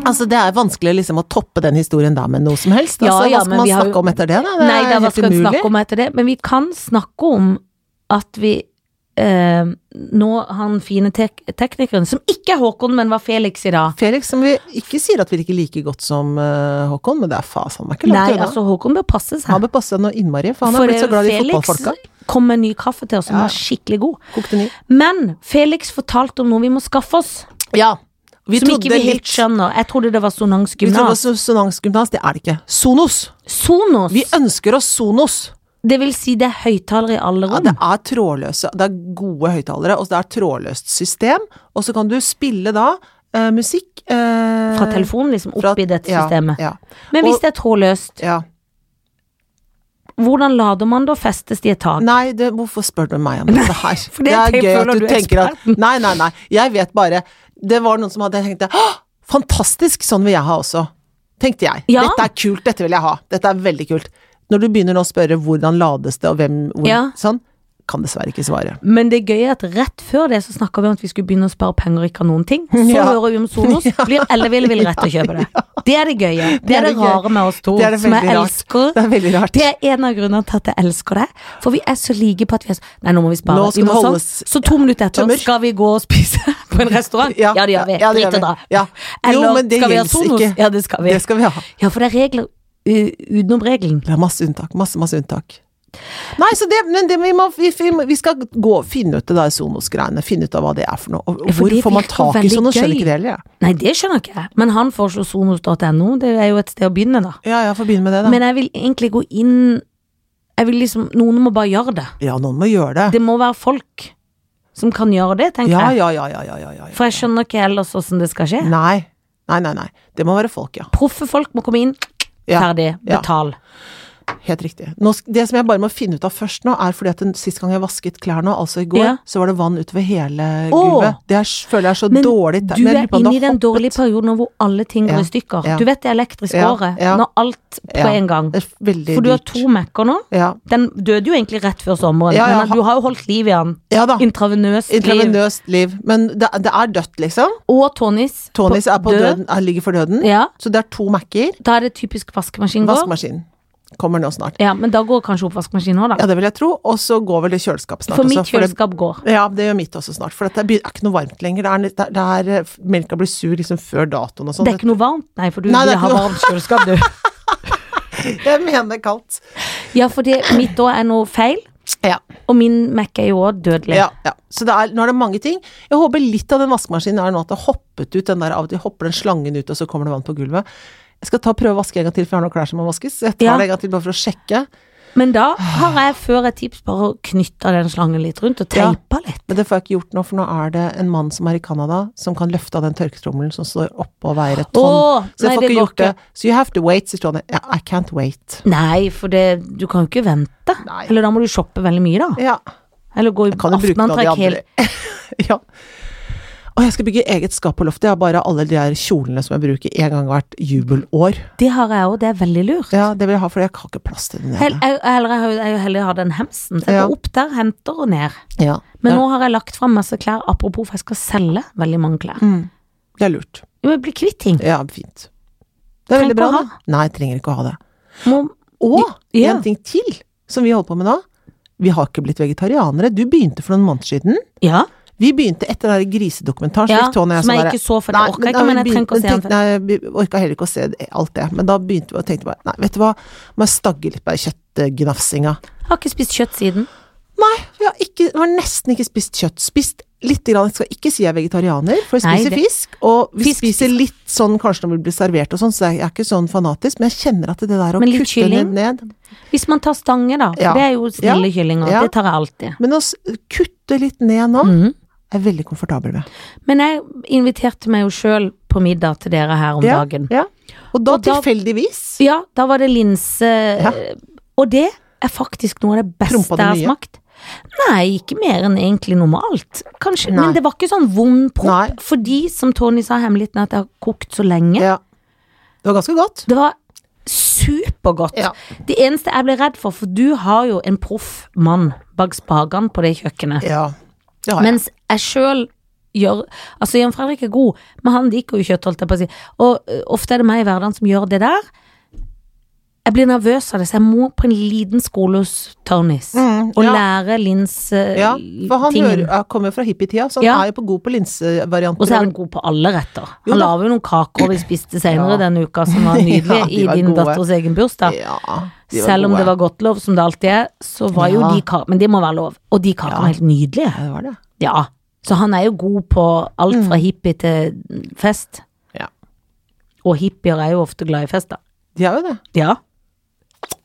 Speaker 2: Altså, Det er vanskelig liksom å toppe den historien der med noe som helst.
Speaker 1: Ja,
Speaker 2: Altså,
Speaker 1: ja,
Speaker 2: Hva
Speaker 1: men
Speaker 2: skal man
Speaker 1: vi har
Speaker 2: snakke
Speaker 1: jo-
Speaker 2: om etter det? da? Det
Speaker 1: Nei,
Speaker 2: er
Speaker 1: da, hva
Speaker 2: helt
Speaker 1: skal vi
Speaker 2: umulig.
Speaker 1: snakke om etter det? Men vi kan snakke om at vi eh, Nå han fine tek teknikeren, som ikke er Håkon, men var Felix i dag
Speaker 2: Felix, som vi ikke sier at vi liker like godt som eh, Håkon, men det er faen han er ikke
Speaker 1: Nei,
Speaker 2: langt unna.
Speaker 1: altså Håkon bør passe
Speaker 2: Han
Speaker 1: seg.
Speaker 2: bør passe seg noe innmari, for han
Speaker 1: For,
Speaker 2: har blitt så glad i
Speaker 1: eh,
Speaker 2: fotballfolka.
Speaker 1: Felix kom med en ny kaffe til oss som
Speaker 2: Ja.
Speaker 1: var skikkelig god.
Speaker 2: Kokte ny.
Speaker 1: Men Felix fortalte om noe vi må skaffe oss,
Speaker 2: Ja. Vi
Speaker 1: som ikke
Speaker 2: trodde
Speaker 1: vi helt
Speaker 2: litt
Speaker 1: skjønner. Jeg trodde det var Sonangs
Speaker 2: Vi trodde det var
Speaker 1: gymnas.
Speaker 2: so- sonansgymnas, det er det ikke. Sonos!
Speaker 1: Sonos,
Speaker 2: Vi ønsker oss Sonos!
Speaker 1: det vil si det er høyttalere i alle
Speaker 2: Ja,
Speaker 1: rom.
Speaker 2: det er trådløse, det er gode høyttalere, og det er trådløst system. Og så kan du spille da eh, musikk eh,
Speaker 1: Fra telefonen, liksom,
Speaker 2: fra-
Speaker 1: oppi dette
Speaker 2: ja,
Speaker 1: systemet.
Speaker 2: Ja,
Speaker 1: Men hvis
Speaker 2: Og-
Speaker 1: det er trådløst,
Speaker 2: ja.
Speaker 1: hvordan lader man da? Festes de i tak?
Speaker 2: Nei, det, hvorfor spør du meg om dette her?
Speaker 1: for det jeg
Speaker 2: er gøy
Speaker 1: tenker
Speaker 2: at
Speaker 1: når
Speaker 2: du,
Speaker 1: du er
Speaker 2: tenker at Nei, nei, nei. Jeg vet bare Det var noen som hadde tenkt det. «Åh, Fantastisk! Sånn vil jeg ha også. Tenkte jeg.
Speaker 1: Ja.
Speaker 2: Dette er kult, dette vil jeg ha. Dette er veldig kult. Når du begynner nå å spørre hvordan lades det, og hvem hvor,
Speaker 1: Ja.
Speaker 2: Sånn. Kan dessverre ikke svare.
Speaker 1: Men det gøye er at rett før det så snakka vi om at vi skulle begynne å spare penger og ikke ha noen ting. Så
Speaker 2: Ja.
Speaker 1: hører vi om Sonos, blir alle ville vil rett til å kjøpe det. Det er det gøye. Det er det
Speaker 2: gøy.
Speaker 1: rare med oss to,
Speaker 2: Det er det
Speaker 1: som jeg
Speaker 2: veldig rart.
Speaker 1: elsker.
Speaker 2: Det er veldig rart.
Speaker 1: Det er en av grunnene til at jeg elsker det. For vi er så like på at vi er så Nei, nå må vi spare.
Speaker 2: Nå skal
Speaker 1: vi må
Speaker 2: det
Speaker 1: sånn.
Speaker 2: holdes-
Speaker 1: Så to minutter etter
Speaker 2: tømmer.
Speaker 1: skal vi gå og spise på en restaurant. Ja, det gjør vi.
Speaker 2: Ja, det gjør
Speaker 1: Drit og dra.
Speaker 2: vi. Ja. Jo,
Speaker 1: Eller
Speaker 2: men det
Speaker 1: skal vi ha
Speaker 2: gjelder
Speaker 1: Sonos?
Speaker 2: ikke.
Speaker 1: Ja, det skal vi.
Speaker 2: Det skal vi ha.
Speaker 1: Ja, for det er regler u- utenom regelen.
Speaker 2: Det er masse unntak. Masse, masse unntak. Nei, så det, men det, vi, må, vi, vi, må- vi skal gå og finne ut det der Sonos-greiene. Finne ut av hva det er for noe. Og
Speaker 1: Ja, for
Speaker 2: hvor
Speaker 1: det
Speaker 2: får man
Speaker 1: virker
Speaker 2: tak i
Speaker 1: veldig
Speaker 2: sånn? Nå skjønner
Speaker 1: gøy.
Speaker 2: ikke det heller, jeg.
Speaker 1: Nei, det skjønner ikke jeg. Men han foreslo sonos.no. Det er jo et sted å begynne, da.
Speaker 2: Ja, ja, får begynne med det, da.
Speaker 1: Men jeg vil egentlig gå inn Jeg vil liksom Noen må bare gjøre det.
Speaker 2: ja, noen må gjøre det.
Speaker 1: Det må være folk som kan gjøre det, tenker
Speaker 2: Ja,
Speaker 1: jeg.
Speaker 2: ja, ja, ja, ja, ja, ja.
Speaker 1: For jeg skjønner ikke ellers åssen det skal skje.
Speaker 2: Nei. Nei, nei, nei. Det må være folk, ja.
Speaker 1: Proffe folk må komme inn.
Speaker 2: Ja,
Speaker 1: Ferdig.
Speaker 2: ja.
Speaker 1: Betal.
Speaker 2: Helt riktig. Nå, sk- det som jeg bare må finne ut av først nå, er fordi at den sist gang jeg vasket klær nå, altså i går,
Speaker 1: Ja.
Speaker 2: så var det vann utover hele
Speaker 1: Åh!
Speaker 2: gulvet. Det er, føler jeg er så
Speaker 1: Men
Speaker 2: dårlig.
Speaker 1: Du er inne i den dårlige perioden nå hvor alle ting går
Speaker 2: Ja,
Speaker 1: i stykker.
Speaker 2: ja.
Speaker 1: Du vet det elektriske
Speaker 2: Ja,
Speaker 1: året.
Speaker 2: ja.
Speaker 1: Når alt på
Speaker 2: Ja,
Speaker 1: en gang.
Speaker 2: Det er veldig
Speaker 1: For du har
Speaker 2: dyrt.
Speaker 1: to Mac-er nå.
Speaker 2: Ja.
Speaker 1: Den døde jo egentlig rett før sommeren,
Speaker 2: Ja, ja,
Speaker 1: men
Speaker 2: ha-
Speaker 1: du har jo holdt liv i den.
Speaker 2: ja da.
Speaker 1: Intravenøst liv.
Speaker 2: Intravenøst liv. Men det, det er dødt, liksom.
Speaker 1: Og Tonys.
Speaker 2: Tonys er på døden, er, ligger for døden.
Speaker 1: Ja.
Speaker 2: Så det er to Mac-er.
Speaker 1: Da er det typisk vaskemaskin går.
Speaker 2: Vaskemaskin kommer nå snart.
Speaker 1: Ja, men da går kanskje oppvaskmaskinen òg, da.
Speaker 2: Ja, det vil jeg tro. Og så går vel det kjøleskapet snart
Speaker 1: For mitt
Speaker 2: også. det-
Speaker 1: kjøleskap går.
Speaker 2: Ja, det gjør mitt også snart. For dette er, er ikke noe varmt lenger. Det er, litt- det er, det er, melka blir sur liksom før datoen og sånn.
Speaker 1: Det er ikke noe varmt, nei, for du
Speaker 2: Nei, det er
Speaker 1: vil ha
Speaker 2: ikke noe-
Speaker 1: varmt kjøleskap, du.
Speaker 2: Jeg mener kaldt.
Speaker 1: Ja, for det, mitt òg er noe feil,
Speaker 2: Ja.
Speaker 1: og min Mac er jo òg dødelig.
Speaker 2: ja, ja. Så det er, nå er det mange ting. Jeg håper litt av den vaskemaskinen er nå at det har hoppet ut den der av og til hopper den slangen ut, og så kommer det vann på gulvet. Jeg skal ta og prøve å vaske en gang til, for jeg har noen klær som må vaskes. Jeg tar
Speaker 1: Ja.
Speaker 2: det en gang til bare for å sjekke.
Speaker 1: Men da har jeg før et tips bare knytta den slangen litt rundt og
Speaker 2: Ja.
Speaker 1: teipa litt.
Speaker 2: Men det får jeg ikke gjort nå, for nå er det en mann som er i Canada, som kan løfte av den tørketrommelen som står oppe og veier et tonn.
Speaker 1: Åh,
Speaker 2: så
Speaker 1: nei,
Speaker 2: jeg får
Speaker 1: det
Speaker 2: ikke
Speaker 1: går
Speaker 2: gjort det. So you have to wait, sier Trondheim. Ja, I can't wait.
Speaker 1: Nei, for det, du kan jo ikke vente.
Speaker 2: Nei.
Speaker 1: Eller da må du shoppe veldig mye, da.
Speaker 2: Ja.
Speaker 1: Eller gå i
Speaker 2: Kan du bruke noen av de
Speaker 1: aftenantrekk
Speaker 2: andre?
Speaker 1: helt.
Speaker 2: ja. Og jeg skal bygge eget skap på loftet. Jeg har bare alle de der kjolene som jeg bruker en gang hvert jubelår.
Speaker 1: Det har jeg òg, det er veldig lurt.
Speaker 2: Ja, det vil jeg ha, for jeg har ikke plass til den
Speaker 1: Hell,
Speaker 2: hele.
Speaker 1: jeg, heller, jeg har jo- jeg har jo heller hatt den hemsen. Så jeg
Speaker 2: Ja.
Speaker 1: går opp der, henter og ned.
Speaker 2: Ja.
Speaker 1: Men
Speaker 2: Ja,
Speaker 1: nå har jeg lagt fram masse klær, apropos, for jeg skal selge veldig mange klær.
Speaker 2: Det er lurt.
Speaker 1: Jo, jeg blir kvitt ting.
Speaker 2: Ja, fint. Det er
Speaker 1: Trenger
Speaker 2: veldig bra,
Speaker 1: ikke å
Speaker 2: det. Nei, jeg trenger ikke å ha det.
Speaker 1: Må,
Speaker 2: Og
Speaker 1: Ja.
Speaker 2: en ting til som vi holder på med nå. Vi har ikke blitt vegetarianere. Du begynte for noen måneder siden.
Speaker 1: ja.
Speaker 2: Vi begynte etter den der grisedokumentaren. så
Speaker 1: Ja,
Speaker 2: gikk Tony og jeg
Speaker 1: som jeg
Speaker 2: sånn
Speaker 1: ikke
Speaker 2: der,
Speaker 1: så, for det
Speaker 2: nei,
Speaker 1: orker jeg ikke,
Speaker 2: da
Speaker 1: men jeg trenger ikke å se den
Speaker 2: tenkte- Nei, vi orka heller ikke å se det- alt det. Men da begynte vi og tenkte bare Nei, vet du hva, må jeg stagge litt på den kjøttgnafsinga.
Speaker 1: Jeg har ikke spist kjøtt siden.
Speaker 2: Nei, vi har, ikke, vi har nesten ikke spist kjøtt. Spist litt grann, jeg skal ikke si jeg er vegetarianer, for jeg
Speaker 1: Nei,
Speaker 2: spiser
Speaker 1: det-
Speaker 2: fisk. Og vi
Speaker 1: Fisk,
Speaker 2: spiser litt sånn kanskje når vi blir servert og sånn, så jeg er ikke sånn fanatisk, men jeg kjenner at det der å
Speaker 1: Men litt
Speaker 2: kutte
Speaker 1: kylling?
Speaker 2: det ned
Speaker 1: Hvis man tar stange, da.
Speaker 2: Ja.
Speaker 1: For det er jo snille
Speaker 2: Ja.
Speaker 1: kyllinger.
Speaker 2: Ja.
Speaker 1: Det tar jeg alltid.
Speaker 2: Men å s- kutte litt ned nå,
Speaker 1: Mhm.
Speaker 2: er jeg veldig komfortabel med.
Speaker 1: Men jeg inviterte meg jo sjøl på middag til dere her om
Speaker 2: Ja,
Speaker 1: dagen.
Speaker 2: ja. Og da
Speaker 1: Og da-
Speaker 2: tilfeldigvis
Speaker 1: Ja, da var det linse Og det er faktisk noe av det beste
Speaker 2: Prompa du
Speaker 1: jeg har
Speaker 2: mye?
Speaker 1: smakt. Nei, ikke mer enn egentlig normalt. Kanskje,
Speaker 2: Nei.
Speaker 1: Men det var ikke sånn vond
Speaker 2: Nei.
Speaker 1: propp. Fordi, som Tony sa, hemmeligheten er at jeg har kokt så lenge.
Speaker 2: Ja. Det var ganske godt.
Speaker 1: Det var supergodt.
Speaker 2: Ja.
Speaker 1: Det eneste jeg ble redd for, for du har jo en proff mann bak spakene på det kjøkkenet.
Speaker 2: Ja. Det har jeg.
Speaker 1: Mens jeg sjøl gjør Altså, Jan Fredrik er god, men han liker jo kjøtt, holdt jeg på å si. Og ø, ofte er det meg i hverdagen som gjør det der. Jeg blir nervøs av det, så jeg må på en liten skole hos Tonys
Speaker 2: Mm,
Speaker 1: og
Speaker 2: ja.
Speaker 1: lære Lins øh,
Speaker 2: Ja, for han
Speaker 1: tingen.
Speaker 2: hører, jeg kommer jo fra hippietida, så han
Speaker 1: Ja.
Speaker 2: er jo på god på
Speaker 1: Og så er
Speaker 2: linsevarianter.
Speaker 1: han god på alle retter.
Speaker 2: Jo
Speaker 1: Han
Speaker 2: da.
Speaker 1: lager jo noen kaker vi spiste senere
Speaker 2: Ja.
Speaker 1: denne uka, som var
Speaker 2: Ja,
Speaker 1: nydelige
Speaker 2: de var
Speaker 1: i din
Speaker 2: gode.
Speaker 1: datters egen bursdag.
Speaker 2: Ja, de var
Speaker 1: Selv om
Speaker 2: gode.
Speaker 1: det var godtlov, som det alltid er, så var jo
Speaker 2: Ja.
Speaker 1: de kakene Men det må være lov. Og de kakene
Speaker 2: Ja.
Speaker 1: var helt nydelige.
Speaker 2: Ja, Mm. det var det.
Speaker 1: Ja, så han er jo god på alt fra hippie til fest.
Speaker 2: Ja.
Speaker 1: Og hippier er jo ofte glad i fest, da.
Speaker 2: De er jo det.
Speaker 1: Ja.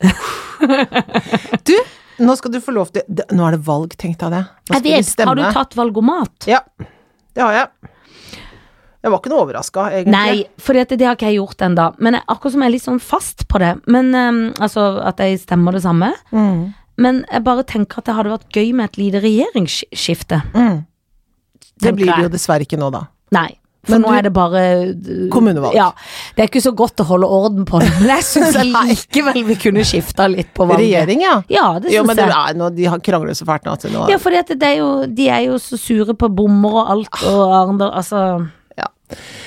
Speaker 2: Du, nå skal du få lov til det- Nå er det valg, tenk deg det. Nå
Speaker 1: Jeg
Speaker 2: skal vi
Speaker 1: vet,
Speaker 2: stemme.
Speaker 1: har du tatt valgomat?
Speaker 2: Ja, det har jeg. Jeg var ikke noe overraska, egentlig.
Speaker 1: Nei, for det, det har ikke jeg gjort ennå. Men jeg, akkurat som jeg er litt sånn fast på det. Men ehm, Altså at jeg stemmer det samme.
Speaker 2: Mm.
Speaker 1: Men jeg bare tenker at det hadde vært gøy med et lite regjeringsskifte.
Speaker 2: Mm. Det
Speaker 1: tenker
Speaker 2: blir det jo
Speaker 1: jeg.
Speaker 2: dessverre ikke nå, da.
Speaker 1: Nei. For
Speaker 2: Men
Speaker 1: nå
Speaker 2: du-
Speaker 1: er det bare eh,
Speaker 2: Kommunevalg.
Speaker 1: Ja. Det er ikke så godt å holde orden på det, men jeg syns
Speaker 2: Nei.
Speaker 1: likevel vi kunne skifta litt på valget.
Speaker 2: Regjering, ja.
Speaker 1: Ja, det syns
Speaker 2: Jo, men det
Speaker 1: jeg.
Speaker 2: er noe, de har krangler så fælt nå at nå
Speaker 1: Ja, for det er jo, de er jo så sure på bommer og alt og Arendal, altså
Speaker 2: Ja.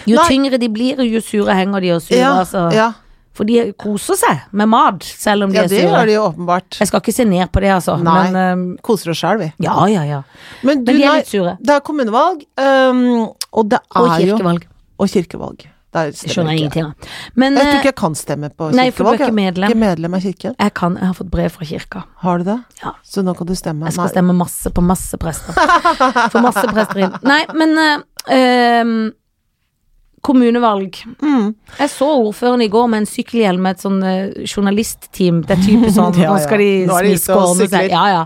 Speaker 1: Jo
Speaker 2: Nei.
Speaker 1: tyngre de blir, jo sure henger de og sure,
Speaker 2: ja,
Speaker 1: altså.
Speaker 2: ja.
Speaker 1: For de koser seg med mat, selv om de
Speaker 2: ja
Speaker 1: er
Speaker 2: det gjør
Speaker 1: sure.
Speaker 2: de jo åpenbart.
Speaker 1: Jeg skal ikke se ned på det, altså,
Speaker 2: Nei.
Speaker 1: men um,
Speaker 2: Koser oss sjæl, vi.
Speaker 1: Ja, ja, ja.
Speaker 2: Men, du,
Speaker 1: Men de er
Speaker 2: nei,
Speaker 1: litt sure.
Speaker 2: det er kommunevalg, øhm, og det er
Speaker 1: Og
Speaker 2: jo
Speaker 1: kirkevalg.
Speaker 2: Og kirkevalg. Der
Speaker 1: Det skjønner
Speaker 2: stemmer
Speaker 1: jeg
Speaker 2: ikke.
Speaker 1: ingenting av. Men
Speaker 2: Jeg tror
Speaker 1: eh,
Speaker 2: ikke jeg kan stemme på kirkevalg.
Speaker 1: Nei, for du er ikke
Speaker 2: jeg.
Speaker 1: medlem.
Speaker 2: Ikke medlem av kirken.
Speaker 1: øh, jeg kan, jeg har fått brev fra kirka.
Speaker 2: Har du det?
Speaker 1: Ja.
Speaker 2: Så nå kan du stemme?
Speaker 1: Jeg skal
Speaker 2: Nei.
Speaker 1: stemme masse på masse prester. Få masse prester inn. Nei, men eh, um, Kommunevalg.
Speaker 2: Mm.
Speaker 1: Jeg så ordføreren i går med en sykkelhjelm med et sånn eh, journalistteam. Det er typisk sånn,
Speaker 2: Ja,
Speaker 1: nå skal de
Speaker 2: ja. Nå er de ute og
Speaker 1: smiskårne
Speaker 2: sykler.
Speaker 1: seg. Ja, ja.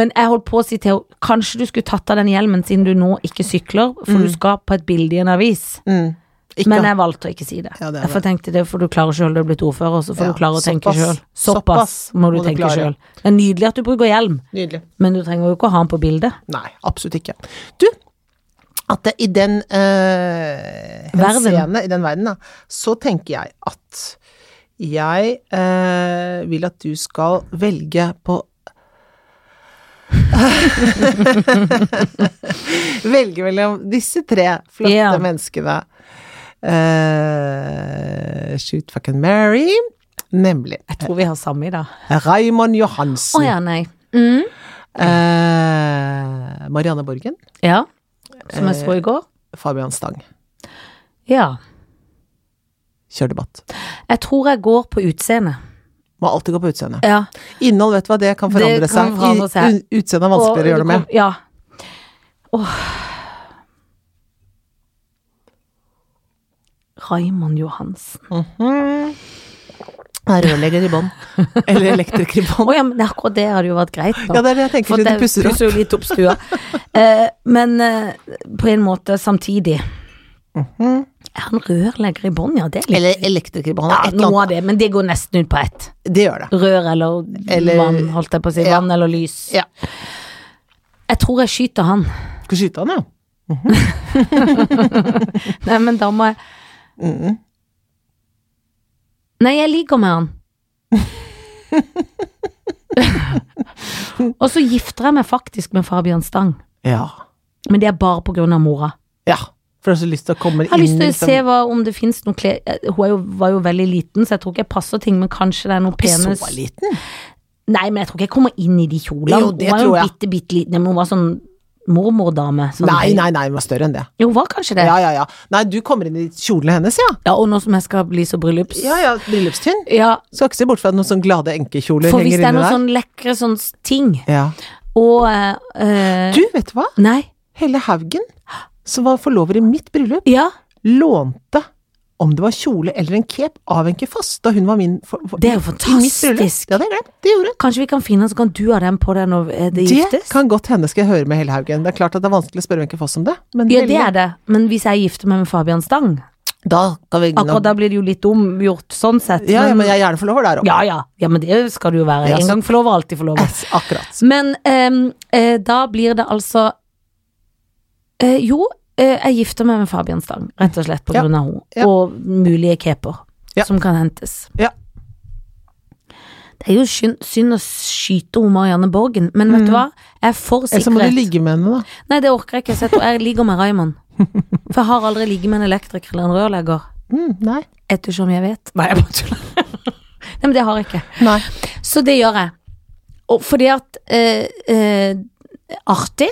Speaker 1: Men jeg holdt på å si til henne, kanskje du skulle tatt av den hjelmen siden du nå ikke sykler, for du skal på et bilde i en avis.
Speaker 2: Mm. Ikke
Speaker 1: Men jeg valgte å ikke si det.
Speaker 2: Ja, det er
Speaker 1: jeg tenkte det får du klare sjøl, du er blitt ordfører, så får du
Speaker 2: Ja,
Speaker 1: klare å tenke
Speaker 2: såpass.
Speaker 1: sjøl.
Speaker 2: Såpass
Speaker 1: Såpass må du
Speaker 2: må du
Speaker 1: tenke
Speaker 2: klare.
Speaker 1: sjøl. Det er nydelig at du bruker hjelm,
Speaker 2: Nydelig.
Speaker 1: men du trenger jo ikke å ha den på bildet.
Speaker 2: Nei, absolutt ikke. Du, at det, i den eh,
Speaker 1: Verden.
Speaker 2: henseende, i den verden, da, så tenker jeg at jeg eh, vil at du skal velge på Velge mellom disse tre flotte
Speaker 1: Ja.
Speaker 2: menneskene. Eh, shoot fucking Mary. Nemlig
Speaker 1: Jeg tror vi har samme i dag.
Speaker 2: Raymond
Speaker 1: Å
Speaker 2: Johansen.
Speaker 1: ja, nei. Mm.
Speaker 2: eh, Marianne Borgen.
Speaker 1: Ja. Som jeg så i går.
Speaker 2: Fabian Stang.
Speaker 1: Eh, Ja.
Speaker 2: Kjør debatt.
Speaker 1: Jeg tror jeg går på utseende.
Speaker 2: Må alltid gå på utseendet.
Speaker 1: Ja.
Speaker 2: Innhold, vet du hva, det kan forandre
Speaker 1: Det kan
Speaker 2: seg.
Speaker 1: forandre seg.
Speaker 2: I- u- Utseendet er vanskeligere å gjøre noe med.
Speaker 1: Ja. Åh. Raymond Johansen.
Speaker 2: Rørlegger i bånn. Eller elektriker i
Speaker 1: Å
Speaker 2: bånn.
Speaker 1: ja, men akkurat det hadde jo vært greit. nå.
Speaker 2: Ja, det er det jeg tenker,
Speaker 1: For
Speaker 2: siden
Speaker 1: det
Speaker 2: du pusser opp.
Speaker 1: jo litt opp stua. Eh, men eh, på en måte samtidig.
Speaker 2: Mhm.
Speaker 1: Er han rørlegger i bånn, ja? Det er litt
Speaker 2: Eller elektriker i bånn.
Speaker 1: ja,
Speaker 2: et eller
Speaker 1: Noe
Speaker 2: annet.
Speaker 1: av det, men det går nesten ut på ett.
Speaker 2: Det gjør det.
Speaker 1: Rør eller,
Speaker 2: Eller-
Speaker 1: vann, holdt jeg på å si.
Speaker 2: Ja.
Speaker 1: Vann eller lys.
Speaker 2: Ja.
Speaker 1: Jeg tror jeg skyter han.
Speaker 2: Skal skyte han, ja.
Speaker 1: Nei, men da må jeg
Speaker 2: Mhm.
Speaker 1: Nei, jeg ligger med han. og så gifter jeg meg faktisk med Fabian Stang,
Speaker 2: Ja.
Speaker 1: men det er bare på grunn av mora.
Speaker 2: ja. For jeg har så lyst til å komme
Speaker 1: Jeg
Speaker 2: inn
Speaker 1: har lyst til å
Speaker 2: liksom.
Speaker 1: se hva, om det fins noe klær eh, Hun er jo, var jo veldig liten, så jeg tror ikke jeg passer ting, men kanskje det er noe
Speaker 2: Ikke
Speaker 1: penis
Speaker 2: så liten.
Speaker 1: Nei, men jeg tror ikke jeg kommer inn i de kjolene.
Speaker 2: Jo, det
Speaker 1: hun var jo
Speaker 2: tror jeg.
Speaker 1: bitte, bitte liten, men hun var sånn mormordame. sånn-
Speaker 2: Nei, nei, nei, hun var større enn det.
Speaker 1: Jo, hun var kanskje det.
Speaker 2: Ja, ja, ja. Nei, du kommer inn i kjolene hennes, ja.
Speaker 1: Ja, og nå som jeg skal bli så bryllups...
Speaker 2: Ja, ja, bryllupstynn.
Speaker 1: Ja,
Speaker 2: Skal ikke se bort fra at noen sånn glade enkekjoler
Speaker 1: for hvis
Speaker 2: henger
Speaker 1: det er
Speaker 2: inne
Speaker 1: noen
Speaker 2: der.
Speaker 1: sånn lekre sånn ting,
Speaker 2: Ja.
Speaker 1: og eh, eh,
Speaker 2: Du, vet du hva?
Speaker 1: Nei.
Speaker 2: Helle Haugen, som var forlover i mitt bryllup,
Speaker 1: Ja,
Speaker 2: lånte om det var kjole eller en cape av Enke Foss da hun var min for, for,
Speaker 1: Det er jo
Speaker 2: i mitt bryllup.
Speaker 1: fantastisk.
Speaker 2: Det hadde jeg glemt. Det gjorde hun.
Speaker 1: Kanskje vi kan finne den, så kan du ha den på deg når eh, det
Speaker 2: Det
Speaker 1: giftes?
Speaker 2: kan godt hende skal jeg høre med Helle Haugen. Det er klart at det er vanskelig å spørre Wenche Foss om det, men
Speaker 1: Ja, det er det, men hvis jeg gifter meg med Fabian Stang,
Speaker 2: da kan vi
Speaker 1: akkurat da blir det jo litt omgjort sånn sett.
Speaker 2: Ja, ja, men jeg er gjerne forlover der òg.
Speaker 1: ja, ja, ja, men det skal du jo være.
Speaker 2: Ja, så-
Speaker 1: En gang forlover, alltid forlover.
Speaker 2: Yes, akkurat.
Speaker 1: Men ehm, eh, da blir det altså eh, Jo, eh, jeg gifter meg med Fabian Stang, rett og slett på
Speaker 2: Ja.
Speaker 1: grunn av henne.
Speaker 2: Ja.
Speaker 1: Og mulige caper
Speaker 2: Ja.
Speaker 1: som kan hentes.
Speaker 2: Ja.
Speaker 1: Det er jo synd, synd å skyte hun Marianne Borgen, men vet du hva? Jeg er for
Speaker 2: Eller Mhm. så må du
Speaker 1: sikkerhet.
Speaker 2: ligge med henne, da.
Speaker 1: Nei, det orker jeg ikke. Så jeg tror jeg ligger med Raymond. For jeg har aldri ligget med en elektriker eller en rørlegger.
Speaker 2: Mm, nei.
Speaker 1: Ettersom jeg vet. Nei, jeg bare tuller. Nei, men det har jeg ikke.
Speaker 2: nei.
Speaker 1: Så det gjør jeg. Og fordi at eh, eh, Artig.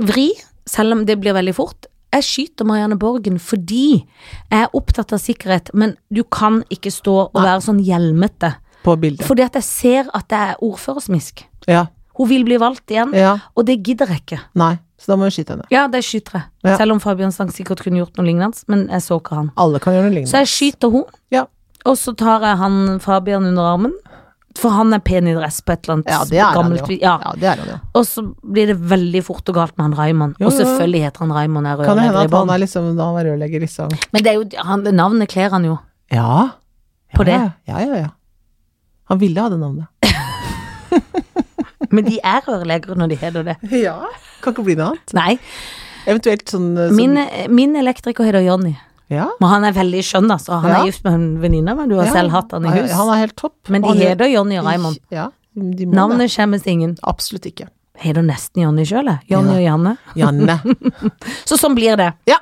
Speaker 1: Vri. Selv om det blir veldig fort. Jeg skyter Marianne Borgen fordi jeg er opptatt av sikkerhet, men du kan ikke stå og
Speaker 2: Ah.
Speaker 1: være sånn hjelmete.
Speaker 2: På bildet.
Speaker 1: Fordi at jeg ser at det er ordførersmisk.
Speaker 2: Ja.
Speaker 1: Hun vil bli valgt igjen,
Speaker 2: Ja.
Speaker 1: og det gidder jeg ikke.
Speaker 2: Nei. Så da må du skyte henne.
Speaker 1: Ja, det skyter jeg.
Speaker 2: Ja.
Speaker 1: Selv om Fabian Stang sikkert kunne gjort noe lignende, men jeg så ikke han.
Speaker 2: Alle kan gjøre
Speaker 1: Så
Speaker 2: noe lignende.
Speaker 1: jeg skyter hun,
Speaker 2: Ja.
Speaker 1: og så tar jeg han Fabian under armen. For han er pen i dress på et eller annet
Speaker 2: Ja, det er han
Speaker 1: gammelt
Speaker 2: jo.
Speaker 1: vis. Ja.
Speaker 2: Ja, det er han jo.
Speaker 1: Og så blir det veldig fort og galt med han Raymond.
Speaker 2: Jo,
Speaker 1: Og
Speaker 2: jo, jo.
Speaker 1: selvfølgelig heter han Raymond, jeg er
Speaker 2: Kan det
Speaker 1: rørlegger
Speaker 2: hende
Speaker 1: i
Speaker 2: at han
Speaker 1: barn.
Speaker 2: er liksom, da han var rørlegger, liksom
Speaker 1: Men det er jo, han, navnet kler han jo.
Speaker 2: Ja.
Speaker 1: På
Speaker 2: ja,
Speaker 1: det?
Speaker 2: Ja, ja, ja. Han ville ha det navnet.
Speaker 1: Men de er rørleggere når de heter det.
Speaker 2: Ja. Kan ikke bli noe annet.
Speaker 1: Nei,
Speaker 2: Eventuelt sånn, eh, sånn
Speaker 1: min, min elektriker heter Jonny.
Speaker 2: Ja.
Speaker 1: Men han er veldig skjønn, altså. Han
Speaker 2: Ja.
Speaker 1: er gift med en venninne, men du har
Speaker 2: ja.
Speaker 1: selv hatt han i hus.
Speaker 2: Ja, Han er helt topp.
Speaker 1: Men de
Speaker 2: Han er-
Speaker 1: heter Jonny og Raymond.
Speaker 2: Ja, de må det.
Speaker 1: Navnet skjemmes ingen.
Speaker 2: Absolutt ikke.
Speaker 1: Heter nesten Jonny sjøl, jeg. Jonny
Speaker 2: Ja.
Speaker 1: og Janne.
Speaker 2: Janne.
Speaker 1: Så sånn blir det.
Speaker 2: Ja.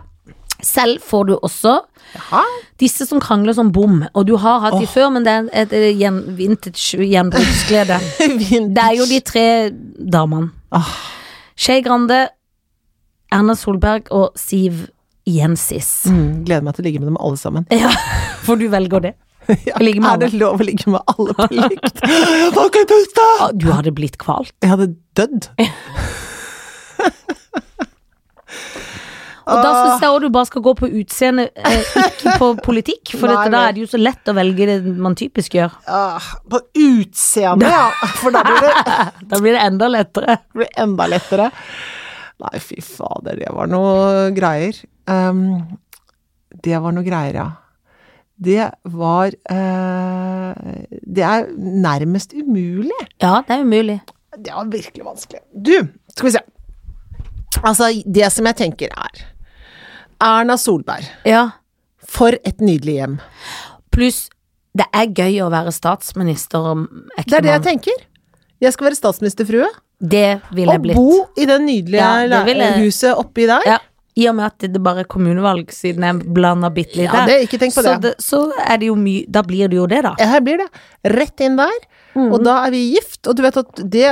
Speaker 1: Selv får du også
Speaker 2: Jaha.
Speaker 1: disse som krangler som bom, og du har hatt de før, men det er et, et gjen, vintage gjenbruksglede.
Speaker 2: Vintage.
Speaker 1: Det er jo de tre damene.
Speaker 2: Ah,
Speaker 1: Skei Grande, Erna Solberg og Siv Jensis.
Speaker 2: mm, gleder meg til å ligge med dem alle sammen.
Speaker 1: Ja, for du velger det.
Speaker 2: Ja,
Speaker 1: ligge med
Speaker 2: er det lov å ligge med alle på likt? Kan ikke puste!
Speaker 1: Ah, Du hadde blitt kvalt.
Speaker 2: Jeg hadde dødd.
Speaker 1: Og da syns jeg òg du bare skal gå på utseende, eh, ikke på politikk. For
Speaker 2: Nei,
Speaker 1: dette, da
Speaker 2: nei.
Speaker 1: er det jo så lett å velge det man typisk gjør.
Speaker 2: Ah, på utseendet, ja. For da blir det,
Speaker 1: Da blir det enda lettere.
Speaker 2: blir det enda lettere. Nei, fy fader, det var noe greier. Ehm, det var noe greier, ja. Det var eh, Det er nærmest umulig.
Speaker 1: Ja, det er umulig.
Speaker 2: Det var virkelig vanskelig. Du, skal vi se. Altså, det som jeg tenker er Erna Solberg,
Speaker 1: Ja.
Speaker 2: for et nydelig hjem.
Speaker 1: Pluss, det er gøy å være statsminister og
Speaker 2: Det er det jeg
Speaker 1: ektemann.
Speaker 2: tenker. Jeg skal være statsministerfrue
Speaker 1: Det ville jeg
Speaker 2: og bo
Speaker 1: blitt.
Speaker 2: i det nydelige
Speaker 1: Ja, det vil jeg.
Speaker 2: la- huset oppi der.
Speaker 1: Ja. I og med at det bare er kommunevalg, siden jeg blander bitte litt
Speaker 2: Ja,
Speaker 1: der.
Speaker 2: det- ikke tenk på
Speaker 1: så
Speaker 2: det.
Speaker 1: Så er det jo mye Da blir det jo det, da.
Speaker 2: Ja, Her blir det. Rett inn der.
Speaker 1: Mm.
Speaker 2: Og da er vi gift, og du vet at det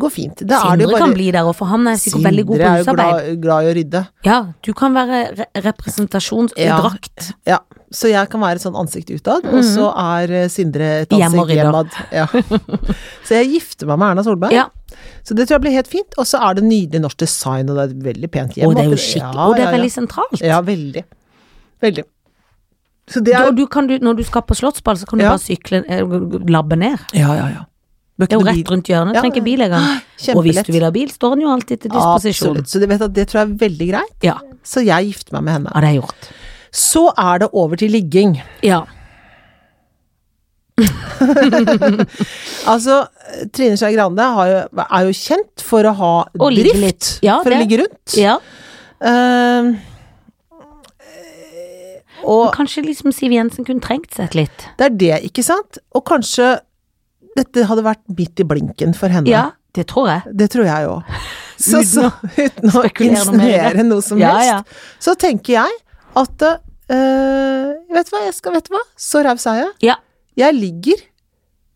Speaker 2: går fint. Da er
Speaker 1: Sindre
Speaker 2: det jo bare
Speaker 1: kan bli der òg, for han er sikkert veldig god
Speaker 2: Sindre
Speaker 1: på
Speaker 2: er jo
Speaker 1: husarbeid.
Speaker 2: glad, glad i å rydde.
Speaker 1: Ja, du kan være re
Speaker 2: Ja.
Speaker 1: representasjonsdrakt.
Speaker 2: Ja, så jeg kan være et sånn ansikt utad, og så er eh, Sindre et
Speaker 1: Hjem Mhm. og
Speaker 2: ansikt
Speaker 1: rydder.
Speaker 2: hjemad. Ja. Så jeg gifter meg med Erna Solberg,
Speaker 1: Ja.
Speaker 2: så det tror jeg blir helt fint. Og så er det nydelig norsk design, og det er et veldig pent hjem.
Speaker 1: Og det er jo
Speaker 2: oppi-
Speaker 1: skikkelig.
Speaker 2: Ja,
Speaker 1: Og det
Speaker 2: ja,
Speaker 1: er
Speaker 2: ja.
Speaker 1: veldig sentralt.
Speaker 2: Ja, veldig. Veldig. Så det
Speaker 1: Du-
Speaker 2: er
Speaker 1: og du kan, du, når du skal på Slottsball, så kan du
Speaker 2: Ja.
Speaker 1: bare sykle eh, labbe ned.
Speaker 2: Ja, ja, ja. Bør
Speaker 1: Det er jo
Speaker 2: ikke noe
Speaker 1: rett
Speaker 2: bil-
Speaker 1: rundt hjørnet.
Speaker 2: Ja.
Speaker 1: Trenger ikke bil engang. Og hvis
Speaker 2: Kjempelett.
Speaker 1: du vil ha bil, står den jo alltid til disposisjon.
Speaker 2: Absolutt. Så du vet at det tror jeg er veldig greit.
Speaker 1: Ja.
Speaker 2: Så jeg gifter meg med henne.
Speaker 1: ja, det er gjort.
Speaker 2: Så er det over til ligging.
Speaker 1: Ja.
Speaker 2: Altså, Trine Skei Grande har jo- er jo kjent for å ha
Speaker 1: Å ligge
Speaker 2: drift.
Speaker 1: litt. Ja,
Speaker 2: for å
Speaker 1: det-
Speaker 2: ligge rundt.
Speaker 1: ja.
Speaker 2: Ehm, og
Speaker 1: Kanskje liksom Siv Jensen kunne trengt seg litt.
Speaker 2: det er det, ikke sant? Og kanskje dette hadde vært midt i blinken for henne.
Speaker 1: Ja, det tror jeg.
Speaker 2: Det tror jeg òg. Så, så uten å
Speaker 1: spekulere noe mer i det.
Speaker 2: insinuere noe som
Speaker 1: Ja,
Speaker 2: helst,
Speaker 1: ja.
Speaker 2: så tenker jeg at eh, Vet du hva, jeg skal, vet du hva, så raus er jeg.
Speaker 1: Ja.
Speaker 2: Jeg ligger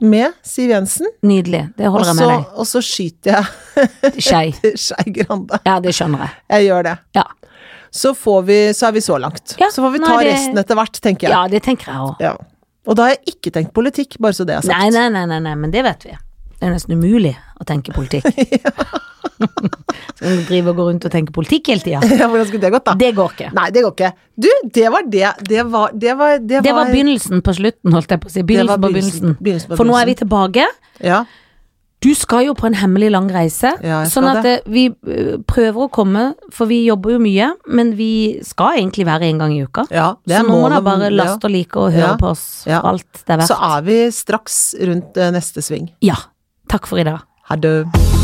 Speaker 2: med Siv Jensen,
Speaker 1: Nydelig. Det
Speaker 2: og
Speaker 1: holder jeg
Speaker 2: så,
Speaker 1: med deg.
Speaker 2: og så skyter jeg
Speaker 1: Skei.
Speaker 2: til Skei Grande.
Speaker 1: Ja, det skjønner jeg.
Speaker 2: Jeg gjør det.
Speaker 1: Ja,
Speaker 2: Så, får vi, så er vi så langt.
Speaker 1: Ja,
Speaker 2: så får vi
Speaker 1: nå
Speaker 2: ta
Speaker 1: er det-
Speaker 2: resten etter hvert, tenker
Speaker 1: ja
Speaker 2: jeg.
Speaker 1: det tenker jeg òg.
Speaker 2: Ja. Og da har jeg ikke tenkt politikk, bare så det er sagt.
Speaker 1: Nei, nei, nei, nei, nei, men det vet vi. Det er nesten umulig å tenke politikk. Skal du drive og gå rundt og tenke politikk hele tida?
Speaker 2: Ja, Hvordan skulle det gått, da?
Speaker 1: Det går ikke.
Speaker 2: Nei, det går ikke. Du, det var det. Det var Det var, det
Speaker 1: Det var begynnelsen på slutten, holdt jeg på å si.
Speaker 2: var
Speaker 1: Begynnelsen på
Speaker 2: begynnelsen.
Speaker 1: begynnelsen.
Speaker 2: Begynnelsen på
Speaker 1: For nå er vi
Speaker 2: begynnelsen.
Speaker 1: tilbake.
Speaker 2: Ja.
Speaker 1: Du skal jo på en hemmelig lang reise,
Speaker 2: Ja, jeg skal
Speaker 1: sånn at eh, vi eh, prøver å komme, for vi jobber jo mye, men vi skal egentlig være en gang i uka.
Speaker 2: ja det
Speaker 1: Så
Speaker 2: er
Speaker 1: nå må
Speaker 2: målet,
Speaker 1: da bare
Speaker 2: ja.
Speaker 1: laste og like og høre
Speaker 2: Ja.
Speaker 1: på oss for
Speaker 2: Ja.
Speaker 1: alt det er
Speaker 2: Så
Speaker 1: verdt.
Speaker 2: er vi straks rundt eh, neste sving.
Speaker 1: Ja. Takk for i dag.
Speaker 2: Ha det.